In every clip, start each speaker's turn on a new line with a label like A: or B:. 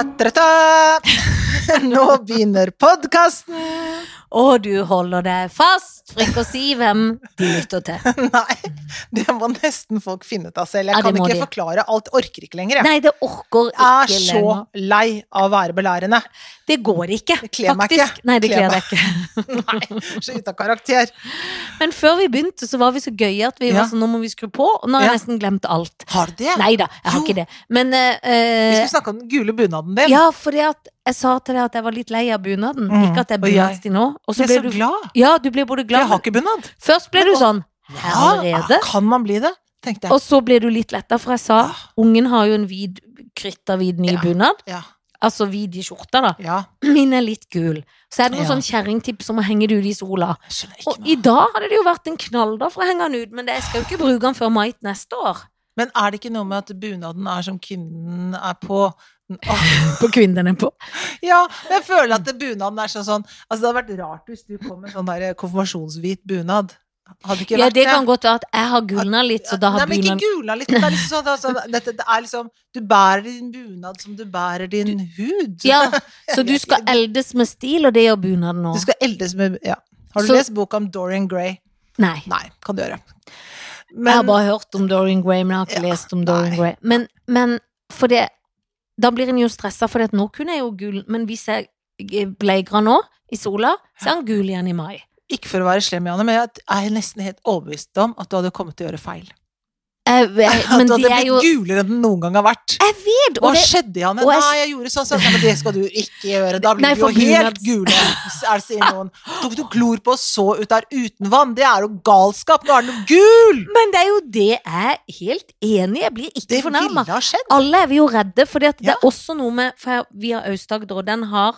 A: Ta-ta-ta! Nå begynner podkasten!
B: Og du holder deg fast, for ikke å si hvem de lytter til.
A: Nei, det må nesten folk finne ut av selv. Jeg
B: Ja, det
A: kan
B: må
A: ikke
B: de.
A: forklare alt. Orker ikke lenger, jeg.
B: Nei, det orker ikke
A: Jeg er Ah, så
B: lenger.
A: lei av å være belærende.
B: Det går ikke,
A: Det kler meg
B: faktisk.
A: ikke.
B: Nei, det
A: Kler
B: kler deg ikke.
A: Nei, så ute av karakter.
B: Men før vi begynte, så var vi så gøye at vi
A: Ja.
B: var sånn, nå må vi skru på, og nå har
A: Ja.
B: jeg nesten glemt alt.
A: Har du det?
B: Nei da, jeg har
A: Jo.
B: ikke det. Men
A: Vi
B: eh,
A: skulle snakke om den gule bunaden din.
B: Ja, fordi at jeg sa til deg at jeg var litt lei av bunaden.
A: Mm,
B: Ikke at jeg er
A: og jeg-
B: bunadstig nå. Og så
A: jeg er
B: ble
A: så
B: du
A: glad.
B: Ja, du ble både
A: Jeg har
B: glad
A: ikke bunad.
B: Først ble du
A: Men-
B: sånn
A: Ja, Ah,
B: Allerede?
A: kan man bli det? Tenkte jeg.
B: Og så ble du litt letta, for jeg sa
A: Ah.
B: ungen har jo en hvit, krytterhvit ny
A: Ja.
B: bunad.
A: Ja.
B: Altså hvit i skjorta, da.
A: ja.
B: Min er litt gul. Så er det noen
A: Ja.
B: sånn kjerringtips om å henge det ut i sola.
A: Jeg skjønner ikke
B: Og i
A: noe.
B: dag hadde det jo vært en knall da for å henge den ut, men det, jeg skal jo ikke bruke den før mai neste år.
A: Men er det ikke noe med at bunaden er som kvinnen er på? Åh,
B: På kvinnene på.
A: Ja, men jeg føler at det bunaden er sånn sånn Altså, det hadde vært rart hvis du kom med sånn der konfirmasjonshvit bunad. Hadde ikke
B: Ja,
A: vært
B: det kan godt være at jeg har gulna litt, så da har
A: Nei, men ikke
B: bunaden
A: gula litt. Det er liksom sånn, altså, dette, det er liksom Du bærer din bunad som du bærer din hud.
B: Ja, så du skal eldes med stil, og det gjør bunaden nå.
A: Du skal eldes med Ja. Har du
B: Så-
A: lest boka om Dorian Gray?
B: Nei.
A: Nei, kan du gjøre.
B: Jeg har
A: Men
B: bare hørt om Dorian Gray, men jeg har ikke
A: Ja,
B: lest om Dorian
A: nei.
B: Gray. Men, men for det Da blir en jo stressa, for nå kunne jeg jo gul, men hvis jeg bleikrer nå, i sola, så er han gul igjen i mai.
A: ikke for å være slem, Janne, men jeg er nesten helt overbevist om at du hadde kommet til å gjøre feil.
B: Jeg, jeg,
A: At
B: Eh, men
A: du
B: det
A: hadde
B: er
A: blitt
B: jo
A: gulere enn den noen gang har vært.
B: Jeg vet!
A: Hva
B: Og det,
A: skjedde, Janne?
B: og jeg-
A: Nei, jeg gjorde sånn, sånn. Nei, men det skal du ikke gjøre. Da blir
B: Nei,
A: du jo
B: for Gud,
A: helt
B: at-
A: gul. Er det sier noen. Tok du klor på og så ut der uten vann? Det er jo galskap! Nå er den jo gul!
B: men det er jo det jeg er helt enig i. Jeg blir
A: Det
B: ikke
A: ville
B: fornærma.
A: ha skjedd.
B: Alle er vi jo redde, for det
A: Ja.
B: er også noe med For jeg- vi har Aust-Agder, og den har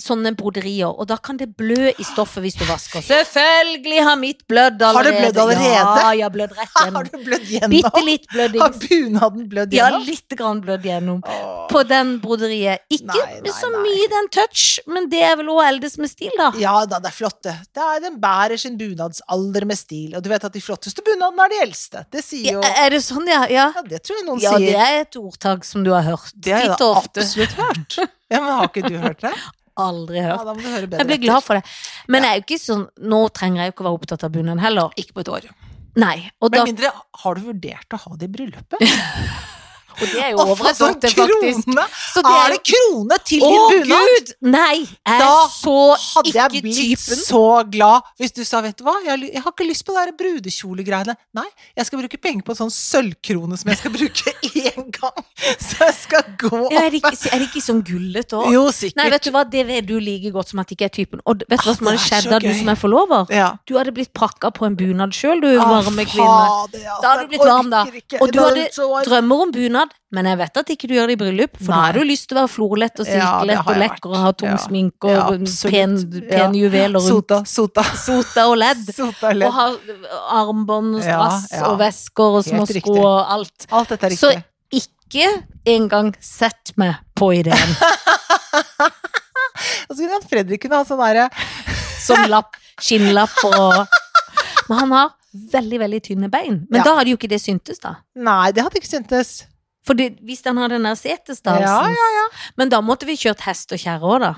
B: sånne broderier, og da kan det blø i stoffet hvis du vasker. Selvfølgelig har mitt blødd allerede.
A: Har det blødd allerede?
B: Ja, jeg har blødd rett
A: Har
B: gjennom.
A: du blødd
B: Bitte
A: gjennom?
B: litt
A: Har
B: blødding.
A: bunaden blødd
B: Ja,
A: gjennom?
B: litt grann blødd gjennom.
A: Åh.
B: På den broderiet. Ikke
A: Nei, nei,
B: så
A: nei.
B: mye den touch, men det er vel å eldes med stil, da.
A: Ja da, det er flott, det. det er, den bærer sin bunadsalder med stil. Og du vet at de flotteste bunadene er de eldste. Det sier jo
B: Ja, er det sånn, ja? Ja,
A: Ja, det tror jeg noen
B: ja det
A: sier.
B: er et ordtak som du har hørt.
A: Det har jeg
B: Titt
A: da
B: og ofte.
A: absolutt hørt. Ja, men har ikke du hørt det?
B: Aldri
A: Ja,
B: hørt.
A: da må du høre bedre
B: Jeg blir
A: etter.
B: glad for det. Men jeg er jo ikke sånn, nå trenger jeg jo ikke å være opptatt av bunaden heller.
A: Ikke på et år.
B: Nei, og, da,
A: Med mindre har du vurdert å ha det i bryllupet?
B: og det er jo
A: Å, for en
B: overraskende, faktisk.
A: krone!
B: Så det
A: Er
B: er
A: det krone til
B: jo Å,
A: din bunad?
B: gud! Nei, jeg
A: Da
B: er så
A: Hadde
B: ikke
A: jeg blitt
B: typen.
A: så glad hvis du sa 'vet du hva, jeg, har ly- jeg har ikke lyst på de der brudekjolegreiene'. Nei, jeg skal bruke penger på en sånn sølvkrone som jeg skal bruke én gang. Så jeg skal gå
B: Ja, er, det
A: opp
B: ikke, er det ikke sånn gullete òg?
A: Jo, sikkert.
B: Nei, vet du hva, det vet du like godt som at ikke er typen. Og vet du hva
A: Ah,
B: som hadde
A: det er
B: skjedd
A: så
B: da du
A: gøy.
B: som er forlover?
A: Ja.
B: Du hadde blitt prakka på en bunad sjøl, du
A: Ah,
B: varme kvinne.
A: fader, altså,
B: Da hadde du
A: jeg
B: blitt varm, da.
A: orker ikke.
B: Og du
A: Da
B: hadde
A: blitt så varm.
B: Drømmer om bunad, men jeg vet at ikke du gjør det i bryllup, for nå
A: Nei.
B: har du lyst til å være florlett og
A: Ja, det
B: silkelett
A: har
B: og
A: jeg
B: lekker
A: vært.
B: og ha tung
A: Ja.
B: smink og
A: Ja, absolutt.
B: pen, pen juvel og rundt
A: Sota, sota.
B: sota og ledd.
A: Sota
B: Og
A: ledd.
B: ha armbånd og
A: Ja,
B: strass
A: ja.
B: og vesker og små
A: Helt riktig.
B: sko og alt.
A: Alt dette er
B: Så
A: riktig.
B: ikke engang sett meg på ideen
A: Og så kunne han Fredrik kunne ha sånn derre
B: som lapp, skinnlapper og Men han har veldig, veldig tynne bein. Men
A: Ja.
B: da hadde jo ikke det syntes, da.
A: Nei, det hadde ikke syntes.
B: For det, hvis han hadde den der setesdansen
A: Ja, ja,
B: Men da måtte vi kjørt hest og kjerre òg, da.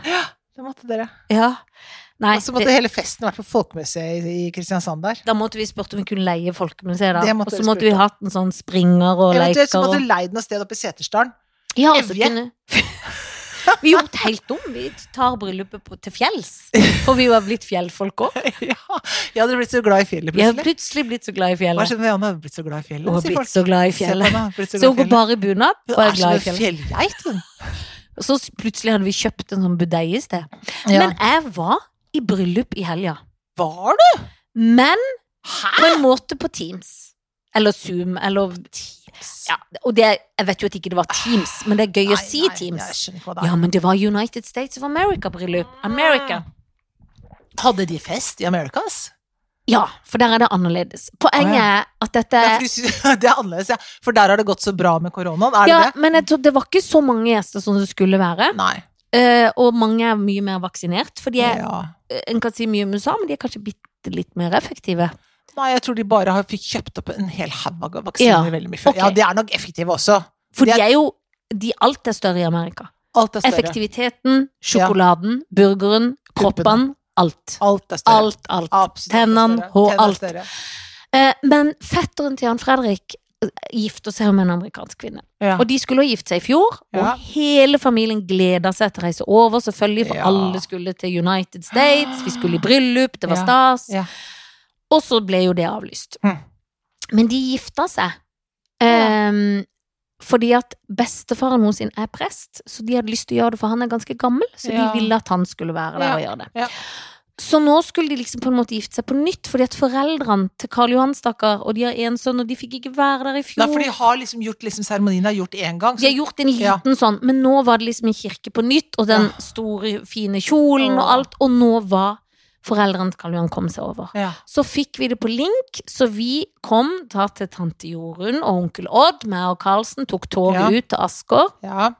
A: Det måtte dere.
B: Ja. Nei,
A: Og så måtte
B: det,
A: hele festen vært på Folkemuseet i i Kristiansand der.
B: da måtte vi spurt om vi kunne leie Folkemuseet, da.
A: Det
B: Og
A: måtte
B: så
A: vi
B: måtte
A: spurt
B: vi hatt en sånn springer og
A: Eventuelt
B: leker
A: så måtte
B: og
A: du leid noe sted oppe i Setersdalen.
B: Ja, altså
A: Evje.
B: kunne Vi har gjort helt om. Vi tar bryllupet på, til fjells. For vi var blitt fjellfolk òg.
A: ja, jeg hadde blitt så glad i fjellet
B: Vi har
A: plutselig.
B: plutselig blitt så glad i
A: Hva
B: fjellet.
A: skjedde med Janne? Hun har blitt så glad i fjellet,
B: Hun har
A: sier folk.
B: blitt så glad i
A: Se på
B: fjellet.
A: henne, hun har blitt så
B: Så hun
A: glad i
B: går
A: fjellet.
B: bare i bunad og
A: Hun
B: er
A: er som
B: glad i
A: en
B: fjellet.
A: fjellgeit, hun.
B: Og så s- plutselig hadde vi kjøpt en sånn budeie i sted.
A: Ja.
B: Men jeg var i bryllup i helga.
A: Var du?
B: Men
A: Hæ?
B: på en måte på Teams. Eller Zoom, eller ja, Og det, jeg vet jo at ikke det var Teams, men det er gøy å
A: Ah. Nei,
B: si
A: nei, Jeg
B: Teams.
A: skjønner ikke Ah. hva det
B: Ja,
A: er.
B: men det var United States of America-bryllup. America.
A: Hadde de fest i Americas?
B: Ja, for der er det annerledes. Poenget
A: Å,
B: er at dette
A: Ja, for du sy- det er annerledes, ja. For der har det gått så bra med koronaen, er det
B: ja,
A: det?
B: men jeg tror det var ikke så mange gjester som det skulle være.
A: Nei.
B: Eh, og mange er mye mer vaksinert, for de er,
A: Ja.
B: en kan si mye om USA, men de er kanskje bitte litt mer effektive.
A: Nei, jeg tror de bare har, fikk kjøpt opp en hel haug av vaksiner
B: Ja,
A: veldig mye før. Ja,
B: ok.
A: de er nok effektive også.
B: For
A: Det er-
B: de er jo de Alt er større i Amerika.
A: Alt er større.
B: Effektiviteten, sjokoladen, burgeren,
A: Puppene.
B: kroppen. Alt.
A: Alt er større.
B: Alt, alt.
A: Absolutt.
B: Tennene,
A: større.
B: hår,
A: Tennene
B: alt.
A: større.
B: Eh, Men fetteren til Jan Fredrik eh, gifter seg med en amerikansk kvinne.
A: Ja.
B: Og de skulle ha gift seg i fjor,
A: Ja.
B: og hele familien gleda seg til å reise over, selvfølgelig, for
A: Ja.
B: alle skulle til United States, vi skulle i bryllup, det var
A: Ja,
B: stas.
A: ja.
B: Og så ble jo det avlyst.
A: Mm.
B: Men de gifta seg. Ehm, fordi at bestefaren hennes er prest, så de hadde lyst til å gjøre det, for han er ganske gammel, så
A: Ja.
B: de ville at han skulle være der
A: Ja,
B: og gjøre det.
A: ja.
B: Så nå skulle de liksom på en måte gifte seg på nytt, fordi at foreldrene til Karl Johan, stakkar, og de har én sønn, og de fikk ikke være der i fjor.
A: Nei, for de har liksom gjort liksom seremonien er gjort én gang.
B: De har gjort en
A: Ja.
B: liten sånn, men nå var det liksom en kirke på nytt, og den store, fine kjolen og
A: Åh.
B: alt, og nå var foreldrene til Karl Johan kom seg over.
A: ja.
B: Så fikk vi det på link, så vi kom da til tante Jorunn og onkel Odd, meg og Karlsen, tok toget
A: Ja.
B: ut til Asker
A: Ja.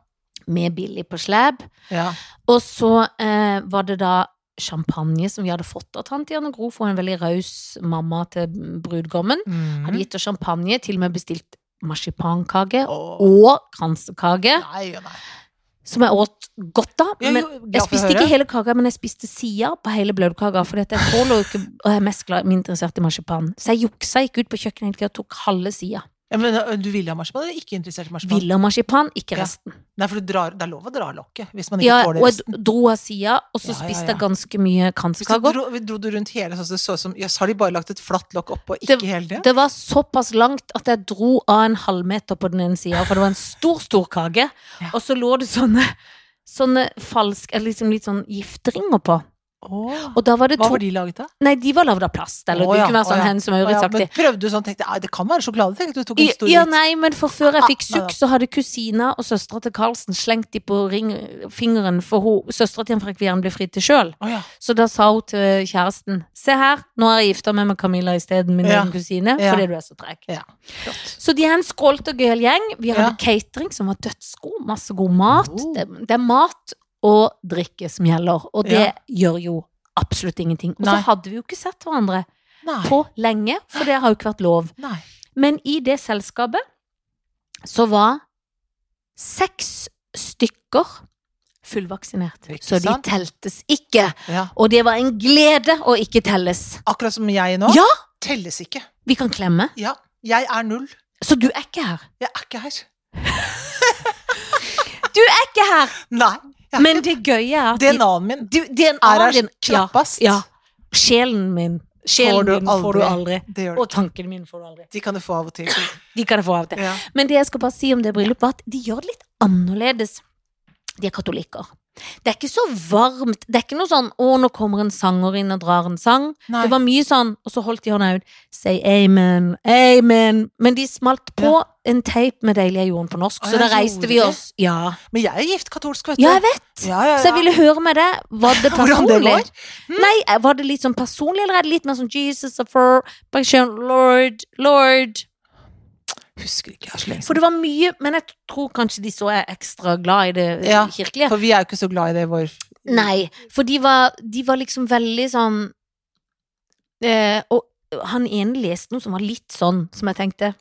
B: med Billy på slep.
A: ja.
B: Og så eh, var det da champagne som vi hadde fått av tante Janne Gro, for hun er en veldig raus mamma til brudgommen.
A: Mm.
B: Hadde gitt oss champagne, til og med bestilt marsipankake
A: Åh.
B: og kransekake.
A: Nei, ja, nei.
B: Som jeg åt godt av.
A: Ja,
B: Men
A: jo, glad
B: jeg
A: for å
B: spiste
A: høre.
B: ikke hele kaka, men jeg spiste sida på hele bløtkaka. For jeg tåler jo ikke Og jeg er mest glad, mindre interessert i marsipan. Så jeg juksa, gikk ut på kjøkkenet egentlig og tok halve sida.
A: ja, men ø, Du ville ha marsipan, eller ikke interessert i marsipan?
B: Ville marsipan, ikke
A: Ja.
B: resten.
A: Nei, for du drar, det er lov å dra lokket hvis man ikke
B: Ja,
A: tåler
B: og
A: resten.
B: jeg dro av sida, og så
A: Ja, ja, ja.
B: spiste jeg ganske mye
A: Hvis du
B: kransekaker.
A: dro, vi dro du rundt hele sånn så det så ut som Jøss, har de bare lagt et flatt lokk oppå, ikke
B: Det-
A: hele det?
B: Det var såpass langt at jeg dro av en halvmeter på den ene sida, for det var en stor, stor kake.
A: Ja.
B: Og så lå det sånne, sånne falske, eller liksom litt sånn gifteringer på.
A: Åh.
B: Og da var det
A: Hva
B: to
A: var de laget av?
B: Nei, de var lagd av plast, eller
A: Å,
B: det
A: ja,
B: kunne være
A: å,
B: sånn
A: ja.
B: Hen som
A: Å, ja,
B: Auritz-aktig.
A: men prøvde du sånn, tenkte jeg, det kan være sjokolade, tenkte du, tok en stor
B: Ja,
A: bit.
B: nei, men for før jeg fikk
A: Ah,
B: sukk, så hadde kusina og søstera til Karlsen slengt de på ring, fingeren, for søstera til Jan Fredrik Vieren ble fridd til sjøl.
A: Å, ja.
B: Så da sa hun til kjæresten Se her, nå er jeg gifta meg med Camilla isteden, min
A: Ja.
B: egen kusine,
A: Ja.
B: fordi du er så treg.
A: Ja. Flott.
B: Så de er en skrålt og gøyal gjeng. Vi
A: Ja.
B: hadde catering som var dødsgod, masse god mat.
A: Oh.
B: Det, det er mat og drikke som gjelder, og det
A: Ja.
B: gjør jo absolutt ingenting. Og så
A: Nei.
B: hadde vi jo ikke sett hverandre
A: Nei.
B: på lenge, for det har jo ikke vært lov.
A: nei.
B: Men i det selskapet så var seks stykker fullvaksinert.
A: Ikke
B: Så de
A: sant?
B: teltes ikke.
A: Ja.
B: Og det var en glede å ikke telles.
A: Akkurat som jeg nå.
B: Ja!
A: Telles ikke.
B: Vi kan klemme.
A: Ja. Jeg er null.
B: Så du er ikke her.
A: Jeg er ikke her.
B: Jeg er ikke her!
A: Nei. jeg er
B: Men
A: ikke-
B: det gøye er at de-
A: DNA-en min
B: du,
A: er
B: DNA-en
A: her
B: din ja,
A: knappast.
B: ja. Sjelen min.
A: Får
B: Sjelen
A: du
B: din får du aldri.
A: Det gjør
B: Og
A: det.
B: tanken min får du aldri.
A: De kan du få av og til.
B: De kan jeg få av og til.
A: Ja.
B: Men det jeg skal bare si om det bryllupet, var at de gjør det litt annerledes. De er katolikker. Det er ikke så varmt. Det er ikke noe sånn 'Å, nå kommer en sanger inn og drar en sang'.
A: Nei.
B: Det var mye sånn, og så holdt de hånda ut. Say amen, amen. Men de smalt på en teip med 'Deilige jorden' på norsk,
A: Å,
B: så
A: ja,
B: da reiste
A: gjorde
B: vi
A: de?
B: oss. Ja.
A: Men jeg er gift katolsk, vet du.
B: ja, jeg vet.
A: Ja, ja, ja.
B: Så jeg ville høre med deg. Var det
A: Hvordan det Hmm?
B: personlig?
A: går?
B: Nei, var det litt sånn personlig, eller er det litt mer sånn Jesus of her, Lord, Lord?
A: Husker ikke jeg er så lenge
B: For det var mye, men jeg tror kanskje de så er ekstra glad i det eh,
A: Ja,
B: kirkelige.
A: For vi er jo ikke så glad i det i vår
B: Nei, for de var, de var liksom veldig sånn eh, Og han ene leste noe som var litt sånn, som jeg tenkte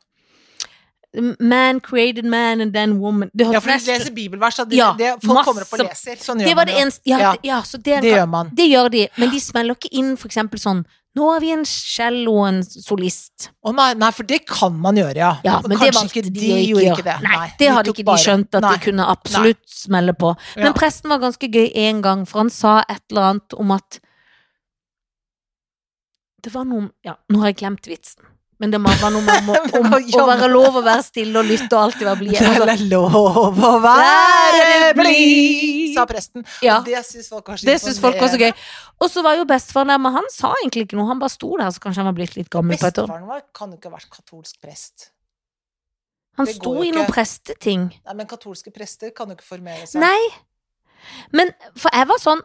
B: Man created man and then woman. Det,
A: Ja,
B: hørtes
A: for de
B: nesten-
A: leser bibelvers, og de,
B: Ja,
A: det, folk
B: masse.
A: kommer opp og leser. Sånn gjør
B: det var
A: man
B: det
A: jo.
B: eneste ja,
A: Ja.
B: det- ja, så det,
A: Det gjør man.
B: det gjør de, men de smeller ikke inn for eksempel sånn Nå har vi en cello og en solist.
A: Å nei, nei, for det kan man gjøre, ja.
B: Ja, men det
A: Kanskje
B: valgte
A: ikke de
B: de, å ikke
A: gjorde
B: gjøre.
A: ikke det.
B: Nei,
A: Nei,
B: det
A: de
B: hadde
A: tok
B: ikke de
A: bare-
B: skjønt at
A: Nei.
B: de kunne absolutt smelle på. Men
A: Ja.
B: presten var ganske gøy én gang, for han sa et eller annet om at Det var noe om Ja, nå har jeg glemt vitsen. Men det var noe om, om, om å være lov å være stille og lytte og alltid være blid.
A: Det
B: Altså,
A: er lov å være blid, sa presten.
B: Ja,
A: Og det syns folk var så
B: det syns folk var så
A: imponerende.
B: gøy. Og så var jo bestefaren der, men han sa egentlig ikke noe. Han bare sto der, så kanskje han var blitt litt gammel på et år.
A: Bestefaren vår kan jo ikke ha vært katolsk prest.
B: Han
A: det
B: sto
A: går jo
B: i noen
A: ikke.
B: presteting.
A: Nei, men katolske prester kan jo ikke formere seg.
B: Nei. Men for jeg var sånn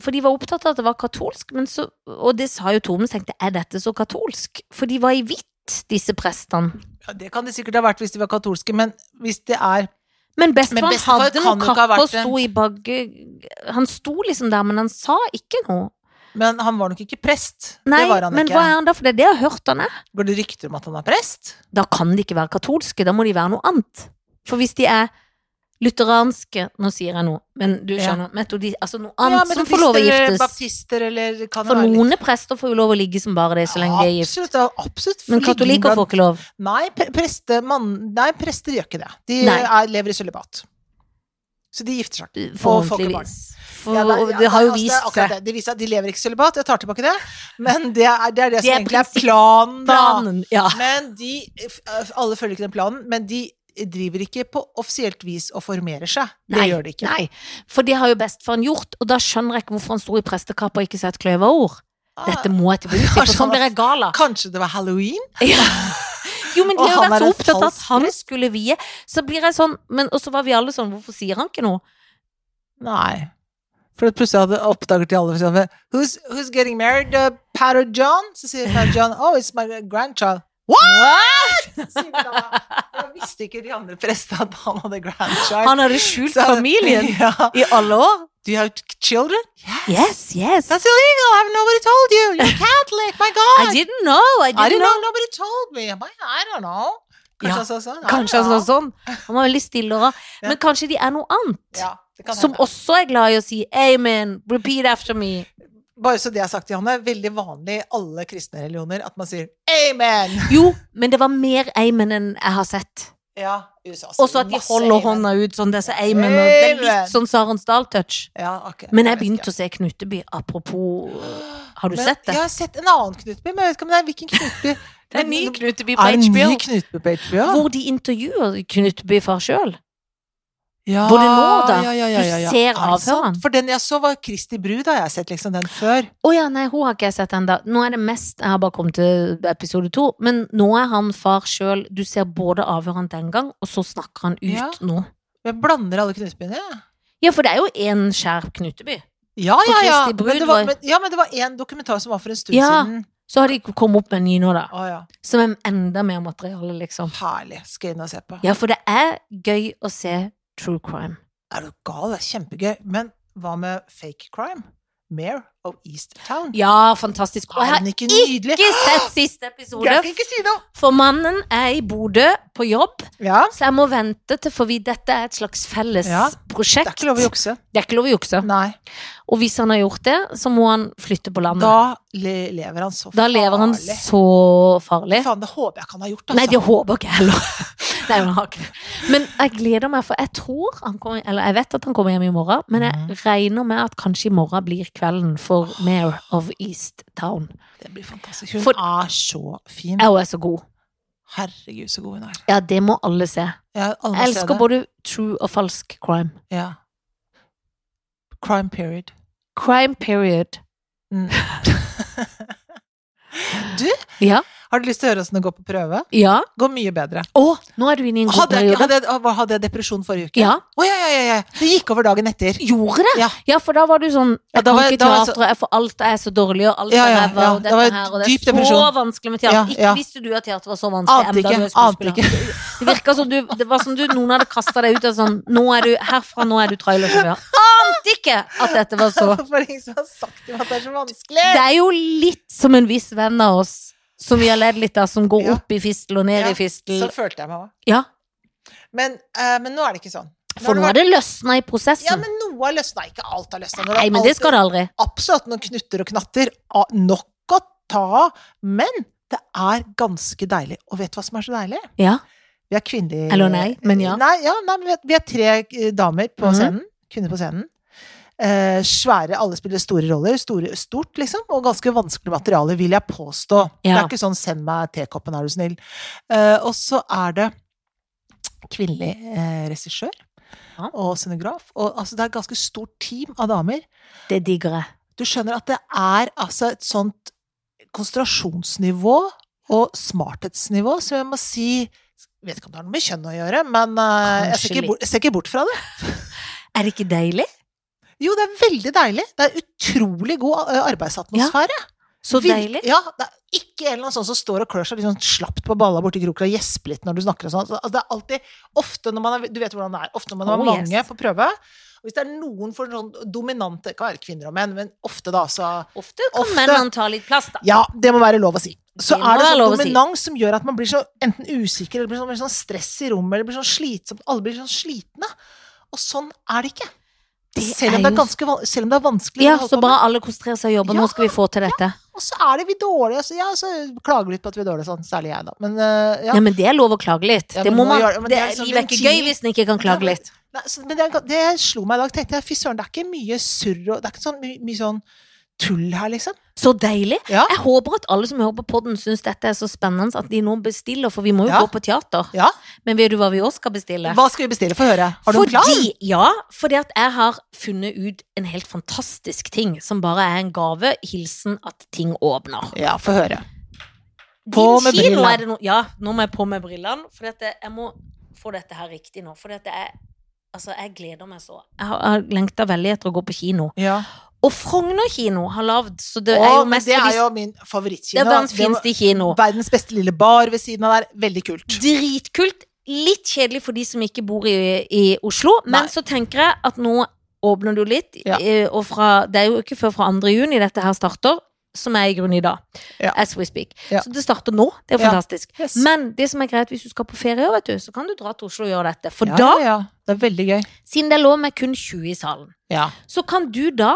B: For de var opptatt av at det var katolsk, men så, og det sa jo Tormund, så tenkte jeg, er dette så katolsk? For de var i hvitt, disse prestene.
A: Ja, det kan det sikkert ha vært hvis de var katolske, men hvis det er
B: Men
A: Men
B: bestefaren
A: bestefar
B: hadde
A: kan
B: noen
A: jo ikke ha
B: kapper og
A: vært en-
B: sto i bagge Han sto liksom der, men han sa ikke noe.
A: Men han var nok ikke prest.
B: Nei,
A: det var han
B: men
A: ikke.
B: hva er han da? For det er det jeg har hørt han er.
A: Går det rykter om at han er prest?
B: Da kan de ikke være katolske, da må de være noe annet. For hvis de er Lutheranske Nå sier jeg noe, men du
A: Ja.
B: skjønner. Metodi, altså noe
A: Ja,
B: annet som får lov å
A: metodister eller
B: giftes.
A: Baptister eller det kan jo
B: For
A: være litt-
B: noen prester får jo lov å ligge som bare det, så lenge de er gift.
A: Absolutt, ja, absolutt.
B: Men katolikker får ikke lov.
A: Nei, pre- preste, mann- nei, prester gjør ikke det. De eh,
B: Nei.
A: er, lever i sølibat. Så de gifter seg.
B: Forhåpentligvis. For,
A: Ja, nei,
B: og
A: ja,
B: det har jo
A: altså, det er
B: vist
A: akkurat
B: seg.
A: Det. det viser seg at de lever ikke i sølibat, jeg tar tilbake det. Men det er det, er det
B: Det
A: som
B: er
A: egentlig
B: prinsipp-
A: er planen, da.
B: Planen, ja.
A: Men de f- Alle følger ikke den planen, men de driver ikke på offisielt vis og formerer seg. Det
B: Nei,
A: gjør de ikke.
B: Nei, for det har jo bestefaren gjort, og da skjønner jeg ikke hvorfor han sto i prestekappa og ikke sa et kløverord. Dette må jeg til bunns i, for
A: Kanskje han
B: sånn blir jeg gal av.
A: Kanskje det var halloween?
B: Ja. Jo, men de
A: Og
B: har jo
A: han
B: vært
A: er
B: så
A: en
B: opptatt av at
A: falsk
B: han skulle vie. Så blir jeg sånn, men, og så var vi alle sånn, hvorfor sier han ikke noe?
A: Nei. For at plutselig hadde oppdaget de alle for eksempel, sånn, who's, who's getting married? Uh, Pater John? Så sier Pater John Oh, it's my grandchild. What?! Sier de da. Jeg visste ikke de andre prestene at han hadde grandchild.
B: Han hadde skjult
A: Så-
B: familien
A: Ja.
B: i alle år.
A: Do you have children? Yes.
B: Yes, yes.
A: That's illegal. I have nobody told you. You're Catholic. My God.
B: I didn't know, I
A: I
B: didn't know.
A: Nobody told me. My, I don't know. Kanskje
B: Ja.
A: han sa sånn? I
B: Kanskje
A: don't
B: han
A: know.
B: sa sånn. Han var veldig stille og rar. Men kanskje de er noe annet.
A: Ja, det kan
B: Som
A: hende.
B: også er glad i å si amen, repeat after me.
A: Bare så det er sagt, Janne, veldig vanlig i alle kristne religioner at man sier amen.
B: Jo, men det var mer amen enn jeg har sett.
A: Ja, USA sier
B: Og så at de
A: masse
B: holder
A: amen.
B: hånda ut sånn, det er så amen. Og det er
A: Amen.
B: litt sånn Sarensdal-touch.
A: ja, ok,
B: Men jeg
A: vet
B: begynte
A: ikke.
B: å se Knuteby, apropos Har du
A: Men
B: sett det?
A: Jeg har sett en annen Knutby, men jeg vet ikke om det er hvilken Knutby.
B: Det er en ny
A: Men-
B: Knuteby på
A: Er det en
B: HBO.
A: ny Knutby på HBO?
B: Hvor de intervjuer Knuteby far sjøl.
A: ja,
B: hvor det nå, da?
A: Ja, ja, ja,
B: Du
A: ja, ja.
B: ser
A: Er det sant?
B: avhøreren.
A: For den jeg så, var Kristi brud, har jeg sett liksom den før.
B: Å ja, nei, hun har ikke jeg sett ennå. Nå er det mest Jeg har bare kommet til episode to. Men nå er han far sjøl. Du ser både avhøreren den gang, og så snakker han ut
A: Ja.
B: nå.
A: Jeg blander alle Knutbyene. jeg.
B: Ja, for det er jo én skjær Knuteby.
A: Ja,
B: For
A: ja, ja.
B: Kristi brud
A: Men det var,
B: var-
A: men, ja, men det var en dokumentar som var for en stund
B: Ja.
A: siden.
B: Så har de kommet opp med en ny nå, da.
A: Å ja.
B: Som er enda mer materiale, liksom.
A: Herlig. Skal jeg inn og se på.
B: Ja, for det er gøy å se true crime.
A: Er du gal? Det er kjempegøy. Men hva med fake crime? Mare of East Town.
B: Ja, fantastisk. Og jeg
A: Er
B: har
A: den ikke nydelig?
B: ikke sett siste episode,
A: Jeg kan ikke si noe!
B: for mannen er i Bodø på jobb,
A: Ja.
B: så jeg må vente til for vi, dette er et slags felles
A: Ja, Det
B: prosjekt.
A: er ikke lov å jukse.
B: Det er ikke lov å jukse.
A: Nei.
B: Og hvis han har gjort det, så må han flytte på landet.
A: Da
B: Da,
A: le lever han så
B: lever han
A: farlig.
B: så farlig.
A: Faen, det håper jeg ikke han har gjort, altså.
B: Nei, det håper ikke jeg heller. Nei, han har ikke det. Men jeg gleder meg, for jeg tror han kommer Eller jeg vet at han kommer hjem i morgen, men jeg regner med at kanskje i morgen blir kvelden for Mayor of East Town.
A: Det blir fantastisk. Hun
B: For-
A: er så fin.
B: Jeg også er så god.
A: Herregud, så god hun er.
B: Ja, det må alle se.
A: Jeg, alle må
B: Jeg
A: se
B: elsker
A: det.
B: både true og falsk crime.
A: ja. Crime period.
B: Crime period.
A: Mm. du,
B: Ja.
A: har du lyst til å høre åssen det går på prøve?
B: Ja.
A: Går mye bedre.
B: Å, nå er du inne i en god
A: Hadde jeg, ikke-
B: periode.
A: hadde, jeg- hadde jeg depresjon forrige uke?
B: Ja.
A: Å, ja, ja, ja, ja. Det gikk over dagen etter.
B: Gjorde det?
A: Ja.
B: Ja, for da var du sånn
A: Ja,
B: Jeg
A: da
B: kan
A: var jeg-
B: ikke
A: da var jeg
B: teater, jeg får alt er så dårlig, og alt
A: Ja,
B: er
A: ja,
B: ræva,
A: ja,
B: og
A: det
B: dette
A: var
B: her, og det
A: dyp
B: er så
A: depresjon.
B: vanskelig med teater.
A: Ja,
B: ikke
A: ja.
B: visste du at teater var så vanskelig.
A: Ante
B: enda
A: ikke.
B: du er
A: Ante
B: skuespiller.
A: ikke.
B: Det virka som du Det var som du, noen hadde kasta deg ut av sånn Nå er du herfra, nå er du trailersjåfør. Ante ikke at dette var så
A: For ingen som har sagt til meg at det er så vanskelig.
B: Det er jo litt som en viss venn av oss som vi har ledd litt av, som går
A: Ja.
B: opp i fistel og ned
A: Ja,
B: i fistel.
A: Så følte jeg meg òg.
B: Ja,
A: Men, eh, men nå er det ikke sånn.
B: for nå
A: har
B: har
A: det vært-
B: det løsna i prosessen.
A: Ja, men noe har løsna. Ikke alt har løsna.
B: Nei, men det skal det aldri.
A: absolutt noen knutter og knatter. ah, Nok å ta av. Men det er ganske deilig. Og vet du hva som er så deilig?
B: Ja.
A: Vi er kvinnelige
B: Eller nei, men ja.
A: Nei, ja, nei, men vi er- vi er tre eh, damer på
B: Mhm.
A: scenen. Kvinner på scenen. Eh, svære, alle spiller store roller. Store, stort, liksom. Og ganske vanskelig materiale, vil jeg påstå. Det
B: Ja.
A: er ikke sånn 'send meg tekoppen, er du snill'. Eh, og så er det kvinnelig eh, regissør
B: Ja.
A: og scenograf. Og altså, det er et ganske stort team av damer.
B: Det digger jeg.
A: Du skjønner at det er altså et sånt konsentrasjonsnivå og smarthetsnivå som jeg må si Vet ikke om det har noe med kjønn å gjøre, men eh, jeg, ser
B: Kanskje
A: ikke bort, jeg ser ikke bort fra det.
B: Er det ikke deilig?
A: Jo, det er veldig deilig. Det er utrolig god eh, arbeidsatmosfære.
B: Så
A: Vir-
B: deilig.
A: Ja, det er ikke en eller annen sånn som står og klør seg litt sånn slapt på balla borti kroken og gjesper litt når du snakker og sånn. Altså, det er alltid, ofte når man er, Du vet hvordan det er. Ofte når man er
B: Oh, yes.
A: mange på prøve. Og hvis det er noen for sånn dominante Det kan være kvinner og menn, men ofte da, så
B: Ofte kan
A: Ofte.
B: mennene ta litt plass, da.
A: Ja, det må være lov å si. Så
B: Det må
A: er det
B: være
A: sånn
B: lov å si.
A: dominans som gjør at man blir så enten usikker, eller blir sånn, blir sånn stress i rommet, eller blir sånn slitsom Alle blir sånn slitne. Og sånn er det ikke.
B: Det
A: selv, om
B: er
A: det er
B: jo-
A: ganske, van- selv om det er vanskelig.
B: Ja,
A: å holde
B: så
A: på
B: bra alle konsentrerer seg og jobber.
A: Ja,
B: Nå skal vi få til dette.
A: med. Og så er det vi dårlige. Altså, ja, så klager litt på at vi er dårlige, sånn, særlig jeg, da. Men, eh, ja.
B: Ja, men det er lov å klage litt.
A: Ja,
B: det
A: men
B: må
A: nå
B: man,
A: gjør- men
B: det,
A: det er liksom
B: livet er ikke
A: ventil.
B: gøy hvis en ikke kan klage
A: Ja, men-
B: litt.
A: Nei, så, men det, er ga- det slo meg i dag. tenkte jeg, Fy søren, det er ikke mye surr og Det er ikke sånn, my, mye sånn tull her, liksom.
B: Så deilig!
A: Ja.
B: Jeg håper at alle som hører på podden syns dette er så spennende at de nå bestiller, for vi må jo
A: Ja.
B: gå på teater.
A: Ja.
B: Men vet du hva vi også skal bestille?
A: Hva skal vi bestille? Få høre. Har du en plan?
B: Fordi, ja, fordi at jeg har funnet ut en helt fantastisk ting som bare er en gave. Hilsen at ting åpner.
A: Ja, få høre.
B: På
A: med brillene.
B: Er det no ja, nå må jeg på med brillene. For jeg må få dette her riktig nå. For jeg, altså, jeg gleder meg så. Jeg har, jeg har lengta veldig etter å gå på kino.
A: Ja.
B: Og Frogner kino har lagd, så det
A: Det
B: er
A: er,
B: jo mest
A: det
B: for
A: er
B: de-
A: jo min
B: det
A: favorittkino.
B: er verdens
A: Det var
B: fineste kino.
A: Verdens beste lille bar ved siden av der. Veldig kult.
B: Dritkult. Litt kjedelig for de som ikke bor i, i Oslo, men
A: Nei.
B: så tenker jeg at nå åpner du litt,
A: Ja.
B: eh, og fra, det er jo ikke før fra 2. juni dette her starter, som er i grunnen i dag.
A: Ja.
B: As we speak.
A: Ja.
B: Så det starter nå. Det er
A: Ja.
B: fantastisk.
A: Yes.
B: Men det som er greit hvis du skal på ferie, vet du, så kan du dra til Oslo og gjøre dette. For
A: ja,
B: da,
A: ja, ja. Det er veldig gøy.
B: siden det er lov med kun 20 i salen,
A: Ja.
B: så kan du da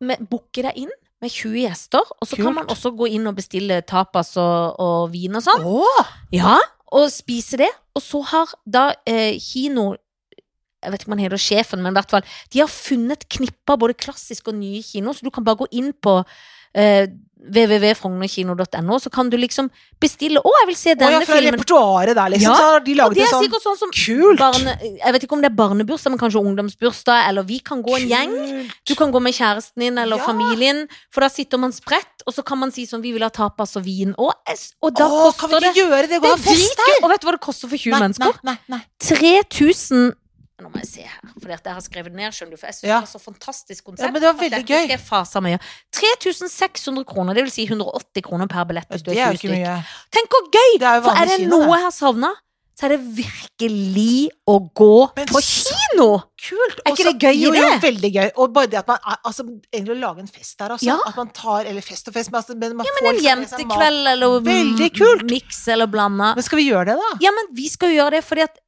B: med- booke deg inn med 20 gjester, og så
A: Kult.
B: kan man også gå inn og bestille tapas og, og vin og sånn.
A: Åh,
B: Ja, og spise det. Og så har da eh, kino Jeg vet ikke om han heter sjefen, men i hvert fall De har funnet knipper både klassisk og nye kino, så du kan bare gå inn på eh, www.frognerkino.no, så kan du liksom bestille 'Å, jeg vil se
A: Åh, ja,
B: denne
A: fra
B: filmen'.
A: repertoaret der, liksom.
B: Ja,
A: Så har de
B: Og
A: laget
B: det
A: en
B: er
A: sånn
B: sikkert sånn som
A: Kult!
B: barne, Jeg vet ikke om det er barnebursdag, men kanskje ungdomsbursdag, eller vi kan gå en gjeng.
A: Kult.
B: Du kan gå med kjæresten din eller
A: Ja.
B: familien, for da sitter man spredt, og så kan man si sånn 'Vi vil ha tapas og vin', og, og da
A: Åh, kan vi
B: koster
A: ikke
B: det
A: gjøre det?
B: det
A: Gå
B: er dritgøy! Og vet du hva det koster for 20
A: Nei, nei,
B: mennesker?
A: nei, nei.
B: 3000 Nå må jeg se her, for jeg har skrevet det ned, skjønner du. For jeg syns
A: Ja.
B: det var så fantastisk konsept.
A: Ja, men det var
B: at
A: veldig
B: dette
A: gøy.
B: skal jeg fase meg i. 3600 kroner, det vil si 180 kroner per billett hvis du
A: Det er
B: er
A: jo
B: 20
A: ikke
B: stykker.
A: mye.
B: Tenk hvor gøy!
A: Det er jo
B: For er
A: vanlig
B: det
A: kino.
B: noe jeg har savna, så er det virkelig å gå
A: Men
B: på
A: så
B: kino!
A: Kult!
B: Er
A: Og
B: ikke
A: så-
B: det gøy i
A: jo, Jo,
B: det?
A: veldig gøy. Og bare det at man er- altså, egentlig å lage en fest der, altså.
B: Ja.
A: At man tar Eller fest og fest, men, altså, men man får
B: Men en
A: liksom med seg mat.
B: jentekveld eller
A: Veldig kult.
B: miks eller blanda.
A: Men skal vi gjøre det, da?
B: Ja, men vi skal jo gjøre det, fordi at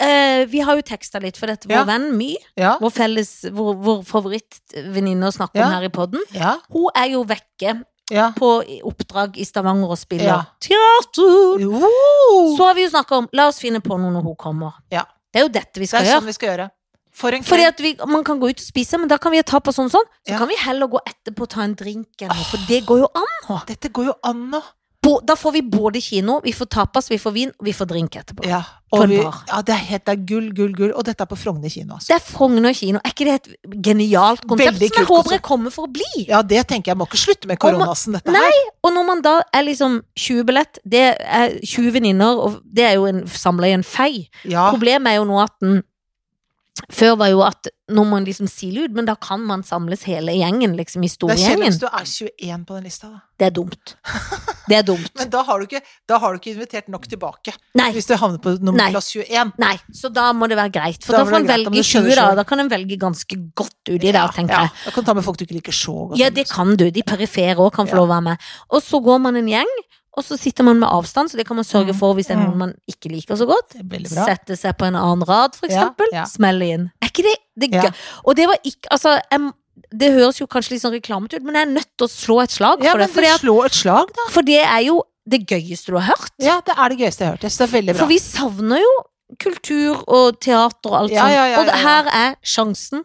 B: eh, vi har jo teksta litt, for dette vår
A: Ja.
B: venn My
A: Ja.
B: vår, felles, vår, vår favorittvenninne å snakke
A: Ja.
B: om her i podden.
A: Ja.
B: Hun er jo vekke
A: ja.
B: på oppdrag i Stavanger og spiller
A: Ja.
B: teater.
A: Jo!
B: Så har vi jo snakka om La oss finne på noe når hun kommer.
A: Ja.
B: Det er jo dette vi
A: det
B: skal
A: er sånn
B: gjøre.
A: vi skal gjøre. For en
B: Fordi
A: kveld.
B: at vi, Man kan gå ut og spise, men da kan vi ta på sånn sånn. Så
A: Ja.
B: kan vi heller gå etterpå og ta en drink eller noe, for det går jo an.
A: Dette går jo an nå.
B: Bo- Da får vi både kino, vi får tapas, vi får vin, og vi får drink etterpå.
A: Ja.
B: På
A: Og
B: en
A: vi,
B: bar.
A: ja, det er helt det er gull, gull, gull. Og dette er på Frogner kino, altså.
B: Det er Frogner kino. Er ikke det et genialt konsept?
A: Veldig
B: Som jeg
A: kult
B: håper jeg kommer for å bli.
A: Ja, det tenker jeg. Må ikke slutte med koronasen, dette
B: Nei,
A: her.
B: Og når man da er liksom 20 billett, det er 20 venninner, og det er jo en, samla i en fei.
A: Ja.
B: Problemet er jo nå at den Før var jo at nå må en liksom sile ut, men da kan man samles hele gjengen, liksom i
A: Det er kjedelig
B: storgjengen.
A: hvis du er 21 på den lista, da.
B: Det er dumt. Det er dumt.
A: Men da har du ikke, da har du ikke invitert nok tilbake.
B: Nei.
A: Hvis du havner på nummer
B: Nei.
A: plass 21.
B: Nei, så da må det være greit. For
A: Da
B: da,
A: må
B: får en
A: det være greit, da må
B: velge
A: du skjønne
B: 20, da.
A: selv.
B: Da kan en velge ganske godt uti der, tenker
A: ja.
B: jeg.
A: Da kan du ta med folk du ikke liker så godt.
B: Ja, det kan du. De perifere òg kan få
A: Ja.
B: lov å være med. Og så går man en gjeng, og så sitter man med avstand, så det kan man sørge
A: Mm.
B: for hvis det er
A: Mm.
B: noen man ikke liker så godt.
A: Det er Veldig bra.
B: Sette seg på en annen rad, for
A: Ja,
B: eksempel.
A: ja.
B: Smelle inn. Er ikke det, det er
A: Ja.
B: gøy? Og det var ikke Altså, em, det høres jo kanskje litt sånn reklamete ut, men jeg er nødt til å slå et slag
A: Ja,
B: for
A: men
B: det. For det,
A: du slår et slag, da.
B: er- for det er jo det gøyeste du har hørt.
A: Ja, det er det gøyeste jeg har hørt. Jeg synes det er veldig bra.
B: For vi savner jo kultur og teater og alt
A: Ja,
B: sånt.
A: ja, ja,
B: Og
A: ja, ja.
B: her er sjansen,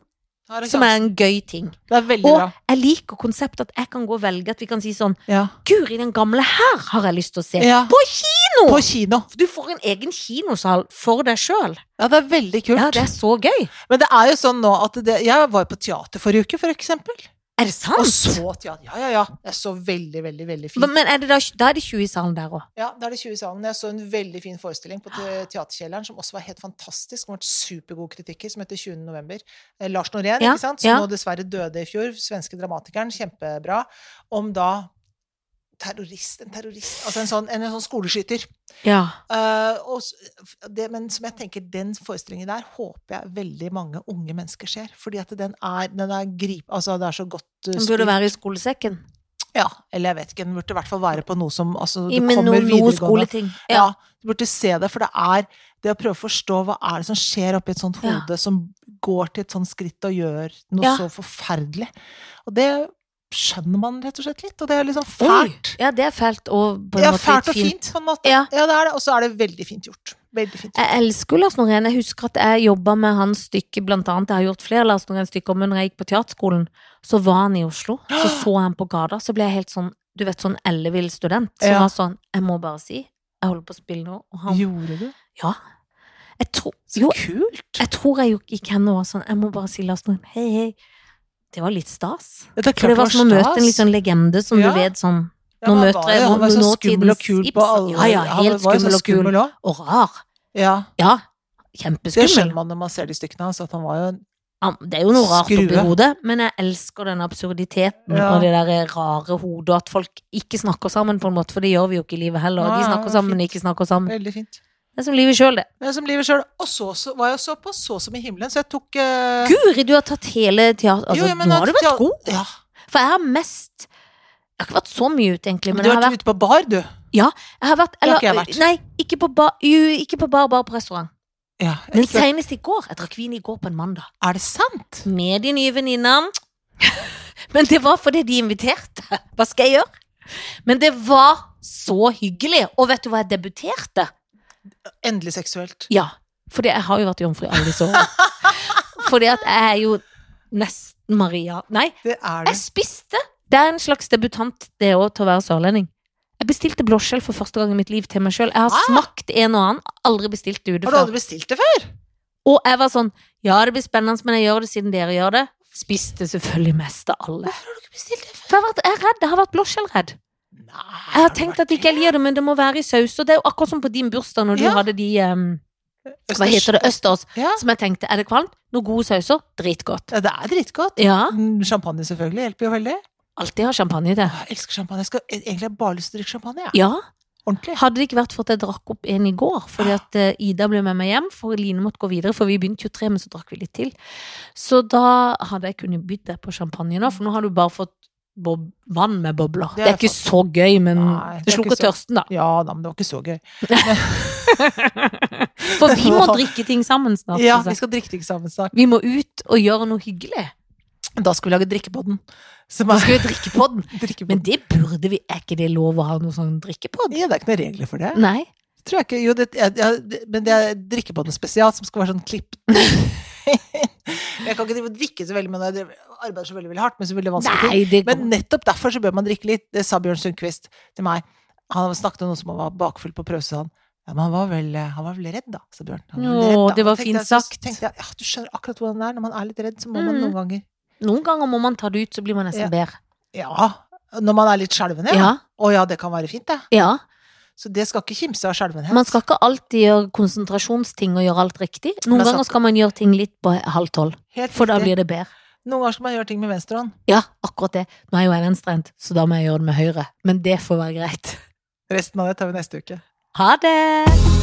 A: Ja, det, er
B: som er
A: klart.
B: en gøy ting.
A: det er veldig
B: Og
A: bra.
B: jeg liker konseptet at jeg kan gå og velge, at vi kan si sånn
A: Ja.
B: Guri, den gamle her har jeg lyst til å se.
A: Ja.
B: På kino!
A: På kino.
B: For Du får en egen kinosal for deg sjøl.
A: Ja, det er veldig kult.
B: Ja, det er så gøy.
A: Men det er jo sånn nå at det Jeg var jo på teater forrige uke, for eksempel.
B: Er det sant?
A: Og så teater. Ja, ja, ja. Jeg så veldig, veldig, veldig
B: Hva-
A: fin.
B: Men er det da, da er det 20 i salen der òg.
A: Ja, da er det 20 i salen. Jeg så en veldig fin forestilling på te- Teaterkjelleren som også var helt fantastisk. Som har vært supergode kritikker, som heter 20. november. Eh, Lars Norén,
B: Ja,
A: ikke sant? som
B: ja.
A: nå dessverre døde i fjor. Svenske dramatikeren. Kjempebra. Om da terrorist En terrorist Altså en sånn, en, sånn skoleskyter.
B: Ja.
A: Eh, og s- det, men som jeg tenker, den forestillingen der håper jeg veldig mange unge mennesker ser. Fordi at den er, den er grip... Altså, det er så godt eh,
B: Den burde
A: spilt.
B: være i skolesekken.
A: Ja, eller jeg vet ikke. Den burde i hvert fall være på noe som altså,
B: I
A: du
B: med
A: kommer
B: noe, noe
A: videregående.
B: skoleting.
A: Ja.
B: Ja.
A: Du burde se det, for det er Det å prøve å forstå hva er det som skjer oppi et sånt
B: Ja.
A: hode, som går til et sånt skritt og gjør noe
B: Ja.
A: så forferdelig. Og det skjønner man rett og slett litt, og det er liksom
B: Oi!
A: fælt.
B: Ja, det er fælt og på en
A: Ja,
B: måte
A: fælt og
B: litt fint.
A: fint, på en måte.
B: Ja.
A: det er det. Og så er det veldig fint gjort. Veldig fint.
B: Jeg elsker jo Lars Norén. Jeg husker at jeg jobba med hans stykke, blant annet. Jeg har gjort flere Lars Norén-stykker, men når jeg gikk på teaterskolen, så var han i Oslo. Så så jeg han på gata, så ble jeg helt sånn, du vet, sånn ellevill student. Som
A: Ja.
B: var sånn, jeg må bare si, jeg holder på å spille nå. Og han,
A: Gjorde du?
B: ja. Jeg tror,
A: Så
B: Eh, jo,
A: kult!
B: jeg tror jeg jo gikk hen og var sånn, jeg må bare si Lars Norén, hei, hei. Det var litt stas.
A: Det er
B: For det var som å møte en litt sånn legende som
A: Ja.
B: du vet sånn,
A: Ja,
B: nå
A: han
B: møter
A: var
B: jeg
A: jo- Han var jo så
B: nåtidens
A: skummel og kul på
B: Ibsen.
A: alle
B: Ja, ja, helt
A: Han var jo så
B: skummel og kul.
A: skummel òg.
B: og rar.
A: Ja.
B: Ja,
A: Det
B: kjempeskummel.
A: skjønner man når man ser de stykkene hans, at han var jo en
B: Ja, det er jo noe rart oppi
A: Skrue.
B: hodet, men jeg elsker den absurditeten
A: Ja.
B: og det der rare hodet, og at folk ikke snakker sammen på en måte, for det gjør vi jo ikke i livet heller.
A: Nei,
B: De
A: det
B: snakker
A: er
B: sammen,
A: fint.
B: men ikke snakker sammen.
A: Veldig fint.
B: Det er som livet sjøl, det.
A: Men som livet sjøl. Og så, så var jeg så på Så som i himmelen, så jeg tok eh,
B: Guri, du har tatt hele teater... Altså,
A: jo, ja, men
B: nå har du
A: at-
B: vært god.
A: Ja.
B: For jeg har mest Jeg har ikke vært så mye ute, egentlig, men
A: du
B: jeg
A: har
B: har
A: vært
B: vært,
A: ute på bar, du.
B: jeg har vært,
A: har
B: eller,
A: ikke jeg vært.
B: Nei, ikke på bar, jo, ikke på bar, bare på restaurant.
A: Ja.
B: Men
A: Ikke-
B: senest i går. Jeg drakk vin i går på en mandag.
A: Er det sant?
B: Med de nye venninnene. Men det var fordi de inviterte. Hva skal jeg gjøre? Men det var så hyggelig. Og vet du hva jeg debuterte?
A: Endelig seksuelt.
B: Ja, fordi jeg har jo vært jomfru alle disse årene. Fordi at jeg er jo nesten Maria. Nei,
A: Det er det.
B: jeg spiste. Det er en slags debutant, det òg, til å være sørlending. Jeg bestilte blåskjell for første gang i mitt liv til meg sjøl. Jeg har
A: Ah.
B: smakt en og annen, aldri bestilt det ute
A: Har du
B: før.
A: aldri bestilt det før?
B: Og jeg var sånn Ja, det blir spennende, men jeg gjør det siden dere gjør det. Spiste selvfølgelig mest av alle.
A: Hvorfor har du ikke bestilt det før?
B: For jeg har vært- jeg er redd. Jeg har vært blåskjellredd.
A: Nei,
B: Jeg har tenkt at ikke jeg liker det, men det må være i saus. Og det er jo akkurat som på din bursdag, når du
A: Ja.
B: hadde de em, Hva heter det? Østers.
A: Ja.
B: Som jeg tenkte, er det kvalmt? Noen gode sauser? Dritgodt.
A: ja, det er dritgodt.
B: Ja.
A: Mm, Champagne selvfølgelig hjelper jo veldig.
B: Alltid har champagne i det.
A: Jeg elsker champagne. Jeg skal egentlig har jeg bare lyst til å drikke champagne. Ja.
B: Ja.
A: Ordentlig.
B: Hadde det ikke vært for at jeg drakk opp en i går, fordi at eh, Ida ble med meg hjem, for Line måtte gå videre, for vi begynte jo tre, men så drakk vi litt til. Så da hadde jeg kunnet bydd deg på champagne nå, for nå har du bare fått bob vann med bobler.
A: Det
B: Det
A: er
B: er, ikke så gøy, men
A: Nei, det
B: det
A: er
B: slukker
A: ikke så-
B: tørsten, da.
A: Ja da, men det var ikke så gøy.
B: For vi må drikke ting sammen snart.
A: Ja,
B: synes
A: vi
B: jeg.
A: skal drikke ting sammen snart.
B: Vi må ut og gjøre noe hyggelig.
A: Da skal vi lage drikkepodden. Som
B: Da
A: er
B: skal vi drikke på den. Men
A: drikkepodden.
B: det burde vi, er ikke det lov å ha noe sånn drikke på den?
A: Ja, det er ikke noen regler for det.
B: Nei.
A: Tror jeg ikke. Jo, det, jeg, jeg, men det er drikkebåndet spesial som skal være sånn klipp. jeg kan ikke drive og drikke så veldig, men jeg driver- arbeider så veldig, veldig hardt med så veldig vanskelige ting.
B: Nei, det
A: Men
B: kommer.
A: nettopp derfor så bør man drikke litt. Det sa Bjørn Sundquist til meg. Han snakket om noen som var bakfull på prøve, sa han. Ja, men han var, vel, han var vel redd, da, sa Bjørn. Han var vel
B: Åh,
A: redd, da.
B: det var
A: Og tenkte
B: fint
A: jeg, så
B: sagt.
A: tenkte jeg, ja, du skjønner akkurat hvordan det er. Når man er litt redd, så må man
B: Mm.
A: noen ganger
B: Noen ganger må man ta det ut, så blir man nesten
A: Ja.
B: bedre.
A: Ja. Når man er litt skjelven, ja.
B: Ja.
A: Å ja, det kan være fint, det.
B: ja.
A: Så det skal ikke kimse av skjelvenhet.
B: Man skal ikke alltid gjøre konsentrasjonsting og gjøre alt riktig. Noen
A: Men sant.
B: ganger skal man gjøre ting litt på halv tolv,
A: Helt
B: for da
A: riktig.
B: blir det bedre.
A: Noen ganger skal man gjøre ting med venstrehånd.
B: Ja, akkurat det. Nå er jo jeg venstrehendt, så da må jeg gjøre det med høyre. Men det får være greit.
A: Resten av det tar vi neste uke.
B: Ha det!